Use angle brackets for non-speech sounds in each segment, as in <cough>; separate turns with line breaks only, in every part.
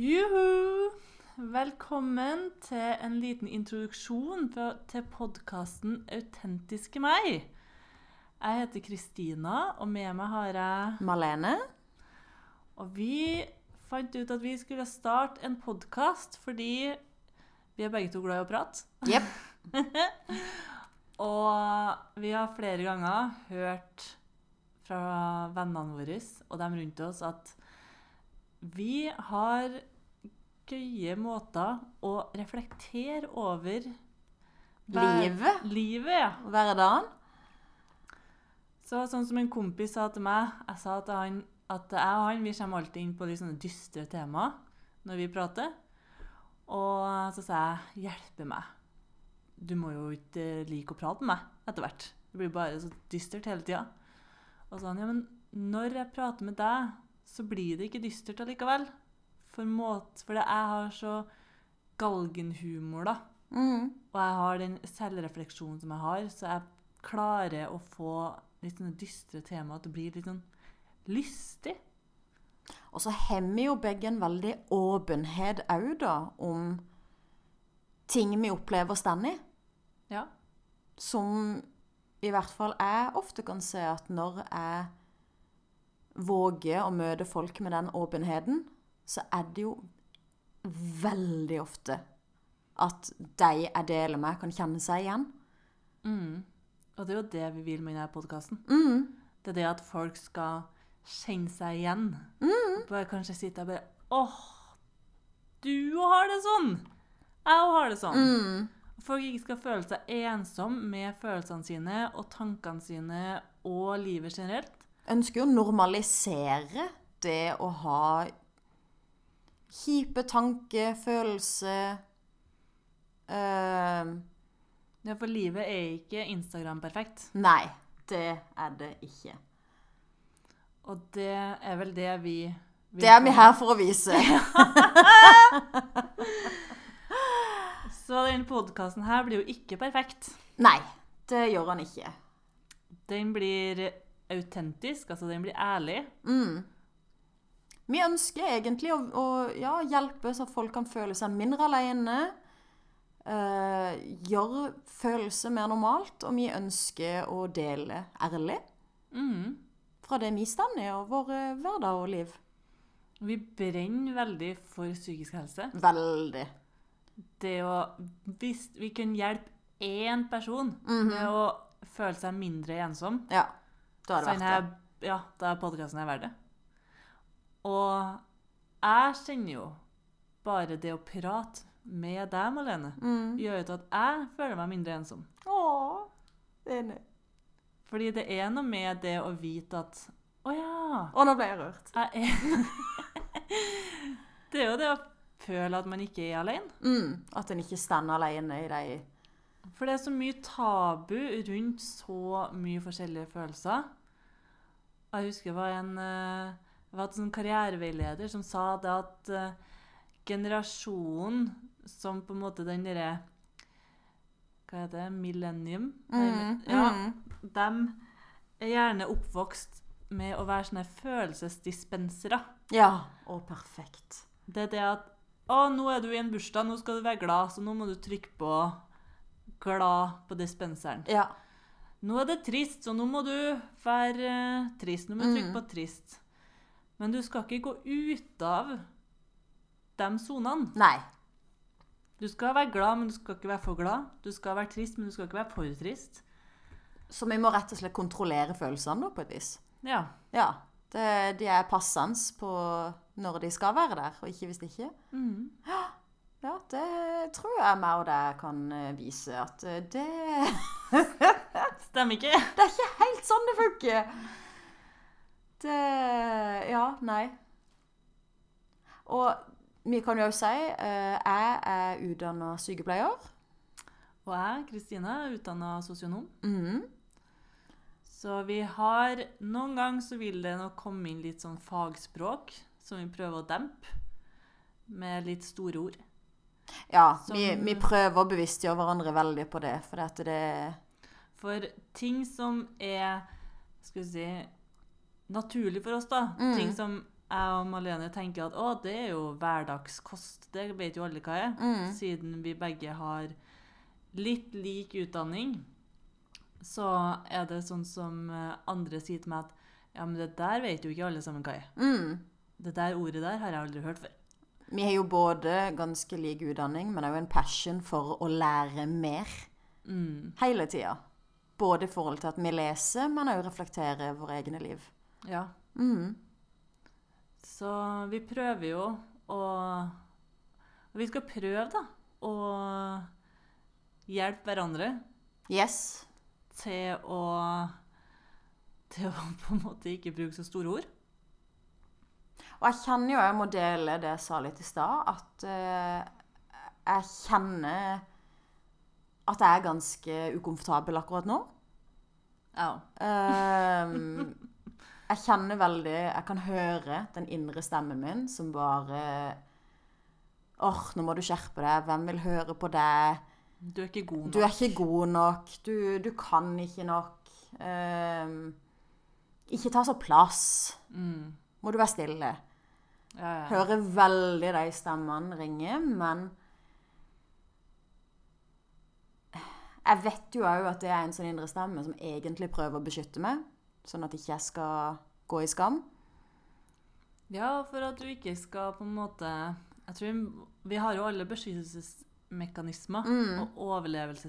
Juhu! Velkommen til en liten introduksjon på- til podkasten 'Autentiske meg'. Jeg heter Kristina, og med meg har jeg
Malene?
Og vi fant ut at vi skulle starte en podkast fordi vi er begge to glad i å prate.
Jepp.
Og vi har flere ganger hørt fra vennene våre og dem rundt oss at vi har gøye måter å reflektere over hver-
Livet?
Livet, ja.
Hverdagen?
Så sånn som en kompis sa til meg Jeg sa til han at jeg og han vi kommer alltid inn på litt sånne dystre temaer når vi prater. Og så sa jeg 'hjelpe meg'. Du må jo ikke like å prate med meg etter hvert. Det blir bare så dystert hele tida. Og så sa han 'ja, men når jeg prater med deg, så blir det ikke dystert allikevel'. For måte, fordi jeg har så galgenhumor, da.
Mm.
Og jeg har den selvrefleksjonen som jeg har, så jeg klarer å få litt sånne dystre temaer til å bli litt sånn lystig.
Og så hemmer jo begge en veldig åpenhet òg, da, om ting vi opplever å stå i.
Ja.
Som i hvert fall jeg ofte kan se at når jeg våger å møte folk med den åpenheten, så er det jo veldig ofte at de jeg deler med, kan kjenne seg igjen.
Mm. Og det er jo det vi vil med denne podkasten.
Mm.
Det er det at folk skal kjenne seg igjen.
Mm.
Bare kanskje sitte og bare Åh, du har det sånn! Jeg òg har det sånn.
Mm.
Folk ikke skal føle seg ensom med følelsene sine og tankene sine og livet generelt.
ønsker jo å normalisere det å ha kjipe tanker, følelser eh,
Ja, For livet er ikke Instagram perfekt.
Nei, det er det ikke.
Og det er vel det vi vil
Det er vi
komme.
her for å vise.
Så den podkasten her blir jo ikke perfekt.
Nei, det gjør han ikke.
Den blir autentisk, altså den blir ærlig.
Mm. Vi ønsker egentlig å, å ja, hjelpe så folk kan føle seg mindre alene. eh, gjøre følelser mer normalt, og vi ønsker å dele ærlig.
Mhm.
fra det vi står i, og vår eh, hverdag og liv.
Vi brenner veldig for psykisk helse.
Veldig.
Det å Hvis vi kunne hjelpe én person
Mhm.
med å føle seg mindre ensom,
Ja.
så
Da er
den
det verdt
her,
det.
ja, da er podkasten her verdt det. Og jeg kjenner jo bare det å prate med deg, Malene,
Mm.
gjør jo til at jeg føler meg mindre ensom.
Åh, enig.
Fordi det er noe med det å vite at Å ja,
Å, nå ble jeg rørt.
jeg er <laughs> Det er jo det å føle at man ikke er alene.
Mm. At en ikke står alene i de
For det er så mye tabu rundt så mye forskjellige følelser. Og Jeg husker det var en eh, det var en sånn karriereveileder som sa det at eh, generasjonen som på en måte den derre Hva heter det? Millennium?
mm.
Ja,
Mm.
dem er gjerne oppvokst med å være sånne følelsesdispensere.
ja. Å, perfekt.
Det er det at Å, nå er du i en bursdag, nå skal du være glad, så nå må du trykke på 'glad' på dispenseren.
Ja.
Nå er det trist, så nå må du være eh, trist. Nå må du trykke
Mm.
på 'trist'. Men du skal ikke gå ut av de sonene.
Nei.
Du skal være glad, men du skal ikke være for glad. Du skal være trist, men du skal ikke være for trist.
Så vi må rett og slett kontrollere følelsene da, på et vis.
Ja.
Ja. Det, de er passende på når de skal være der, og ikke hvis de ikke.
Mm.
Ja, det tror jeg meg og deg kan eh, vise at eh, det
Stemmer ikke?
Det er ikke helt sånn det funker. Det Ja, nei. Og vi kan jo også si eh, jeg er utdanna sykepleier.
Og jeg, Kristine, er utdanna sosionom.
Mhm.
Så vi har Noen ganger så vil det nok komme inn litt sånn fagspråk som vi prøver å dempe med litt store ord.
Ja,
Som-
vi, vi prøver å bevisstgjøre hverandre veldig på det, for at det
For ting som er Skal vi si Naturlig for oss, da.
Mm.
Ting som jeg og Malene tenker at å, det er jo hverdagskost, det vet jo alle hva er.
Mm.
Siden vi begge har litt lik utdanning, så er det sånn som eh, andre sier til meg at ja, men det der vet jo ikke alle sammen hva er.
Mm.
Det der ordet der har jeg aldri hørt før.
Vi har jo både ganske lik utdanning, men òg en passion for å lære mer.
Mm.
Hele tida. Både i forhold til at vi leser, men òg reflekterer våre egne liv.
Ja.
Mm.
Så vi prøver jo å Vi skal prøve, da, å hjelpe hverandre
Yes.
til å Til å på en måte ikke bruke så store ord.
Og jeg kjenner jo, jeg må dele det jeg sa litt i stad, at eh, jeg kjenner at jeg er ganske ukomfortabel akkurat nå.
Ja.
Ehm, jeg kjenner veldig Jeg kan høre den indre stemmen min som bare Åh, nå må du skjerpe deg. Hvem vil høre på deg?
Du er ikke god nok.
Du er ikke god nok. Du, du kan ikke nok. Ehm, ikke ta så plass.
Mm.
Må du være stille.
Ja, ja.
Hører veldig de stemmene ringe, men Jeg vet jo òg at det er en sånn indre stemme som egentlig prøver å beskytte meg, sånn at ikke jeg skal gå i skam.
Ja, for at du ikke skal på en måte Jeg tror vi har jo alle beskyttelsesmekanismer og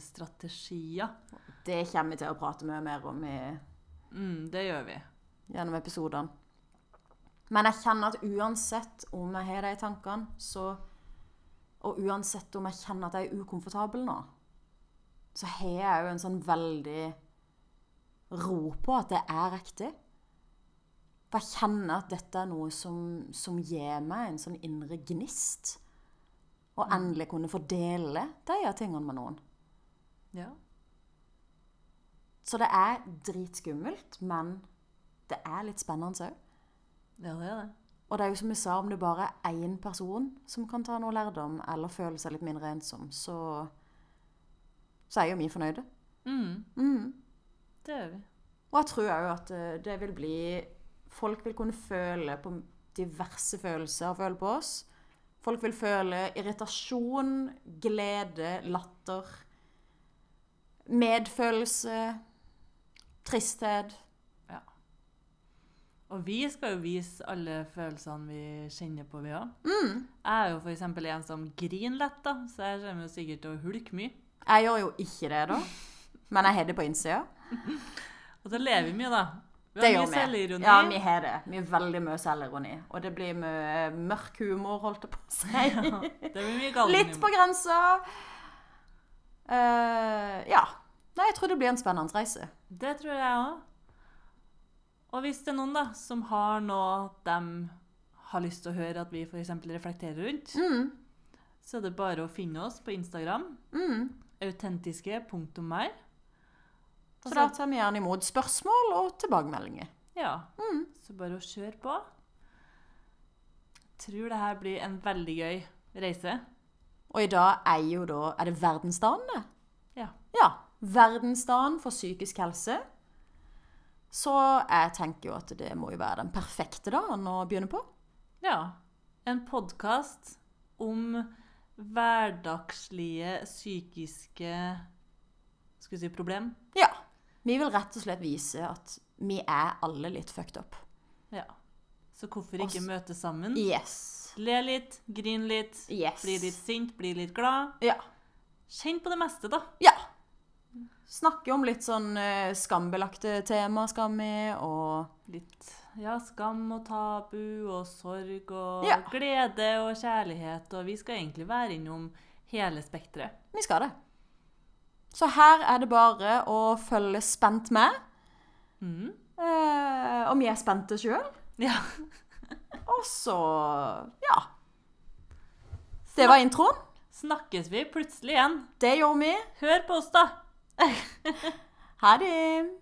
overlevelsesstrategier.
Det kommer vi til å prate mye mer om i,
Mm, det gjør vi.
gjennom episodene. Men jeg kjenner at uansett om jeg har de tankene, så Og uansett om jeg kjenner at jeg er ukomfortabel nå, så har jeg òg en sånn veldig ro på at det er riktig. For jeg kjenner at dette er noe som, som gir meg en sånn indre gnist. Å endelig kunne fordele de her tingene med noen.
Ja.
Så det er dritskummelt, men det er litt spennende òg.
ja, det er det.
Og det er jo som vi sa, om det bare er én person som kan ta noe lærdom, eller føle seg litt mindre ensom, så, så er jo vi fornøyde.
Mm,
Mm.
det gjør vi.
Og jeg tror òg at eh, det vil bli Folk vil kunne føle på diverse følelser og føle på oss. Folk vil føle irritasjon, glede, latter, medfølelse, tristhet.
Og vi skal jo vise alle følelsene vi kjenner på, vi òg.
Mm.
Jeg er jo f.eks. en som griner lett, da, så jeg kommer jo sikkert til å hulke mye.
Jeg gjør jo ikke det, da. Men jeg har det på innsida.
Og så ler vi mye, da. Vi
Det
har
gjør
mye
vi.
selvironi.
Ja, vi har det. Vi er veldig mye selvironi. Og det blir mye eh, mørk humor, holdt jeg på
<laughs>
å si.
det blir mye galning.
Litt på grensa. Eh, ja. Nei, jeg tror det blir en spennende reise.
Det tror jeg òg. Og hvis det er noen da, som har noe de har lyst til å høre at vi for eksempel reflekterer rundt,
Mm.
så er det bare å finne oss på Instagram.
Mm.
Autentiske.mer. Og
Så
så-
da tar vi gjerne imot spørsmål og tilbakemeldinger.
Ja. Så bare å kjøre på. Jeg tror det her blir en veldig gøy reise.
Og i dag er jo da Er det verdensdagen, det?
Ja.
Ja. Verdensdagen for psykisk helse. Så jeg tenker jo at det må jo være den perfekte dagen å begynne på.
ja. En podkast om hverdagslige psykiske Skal vi si problem?
Ja. Vi vil rett og slett vise at vi er alle litt fucked up.
Ja. Så hvorfor ikke
Oss-
møte sammen?
Yes.
Le litt, grin litt,
Yes.
bli litt sint, bli litt glad.
Ja.
Kjenn på det meste, da.
Ja. Snakke om litt sånn eh, skambelagte tema skal vi, og
Litt ja, skam og tabu og sorg og
Ja.
glede og kjærlighet. Og vi skal egentlig være innom hele spekteret.
vi skal det. Så her er det bare å følge spent med.
Mm.
Eh, og vi er spente sjøl.
Ja.
Og så ja. Det var introen.
Snakkes vi plutselig igjen?
Det gjorde vi.
Hør på oss, da!
Ha det.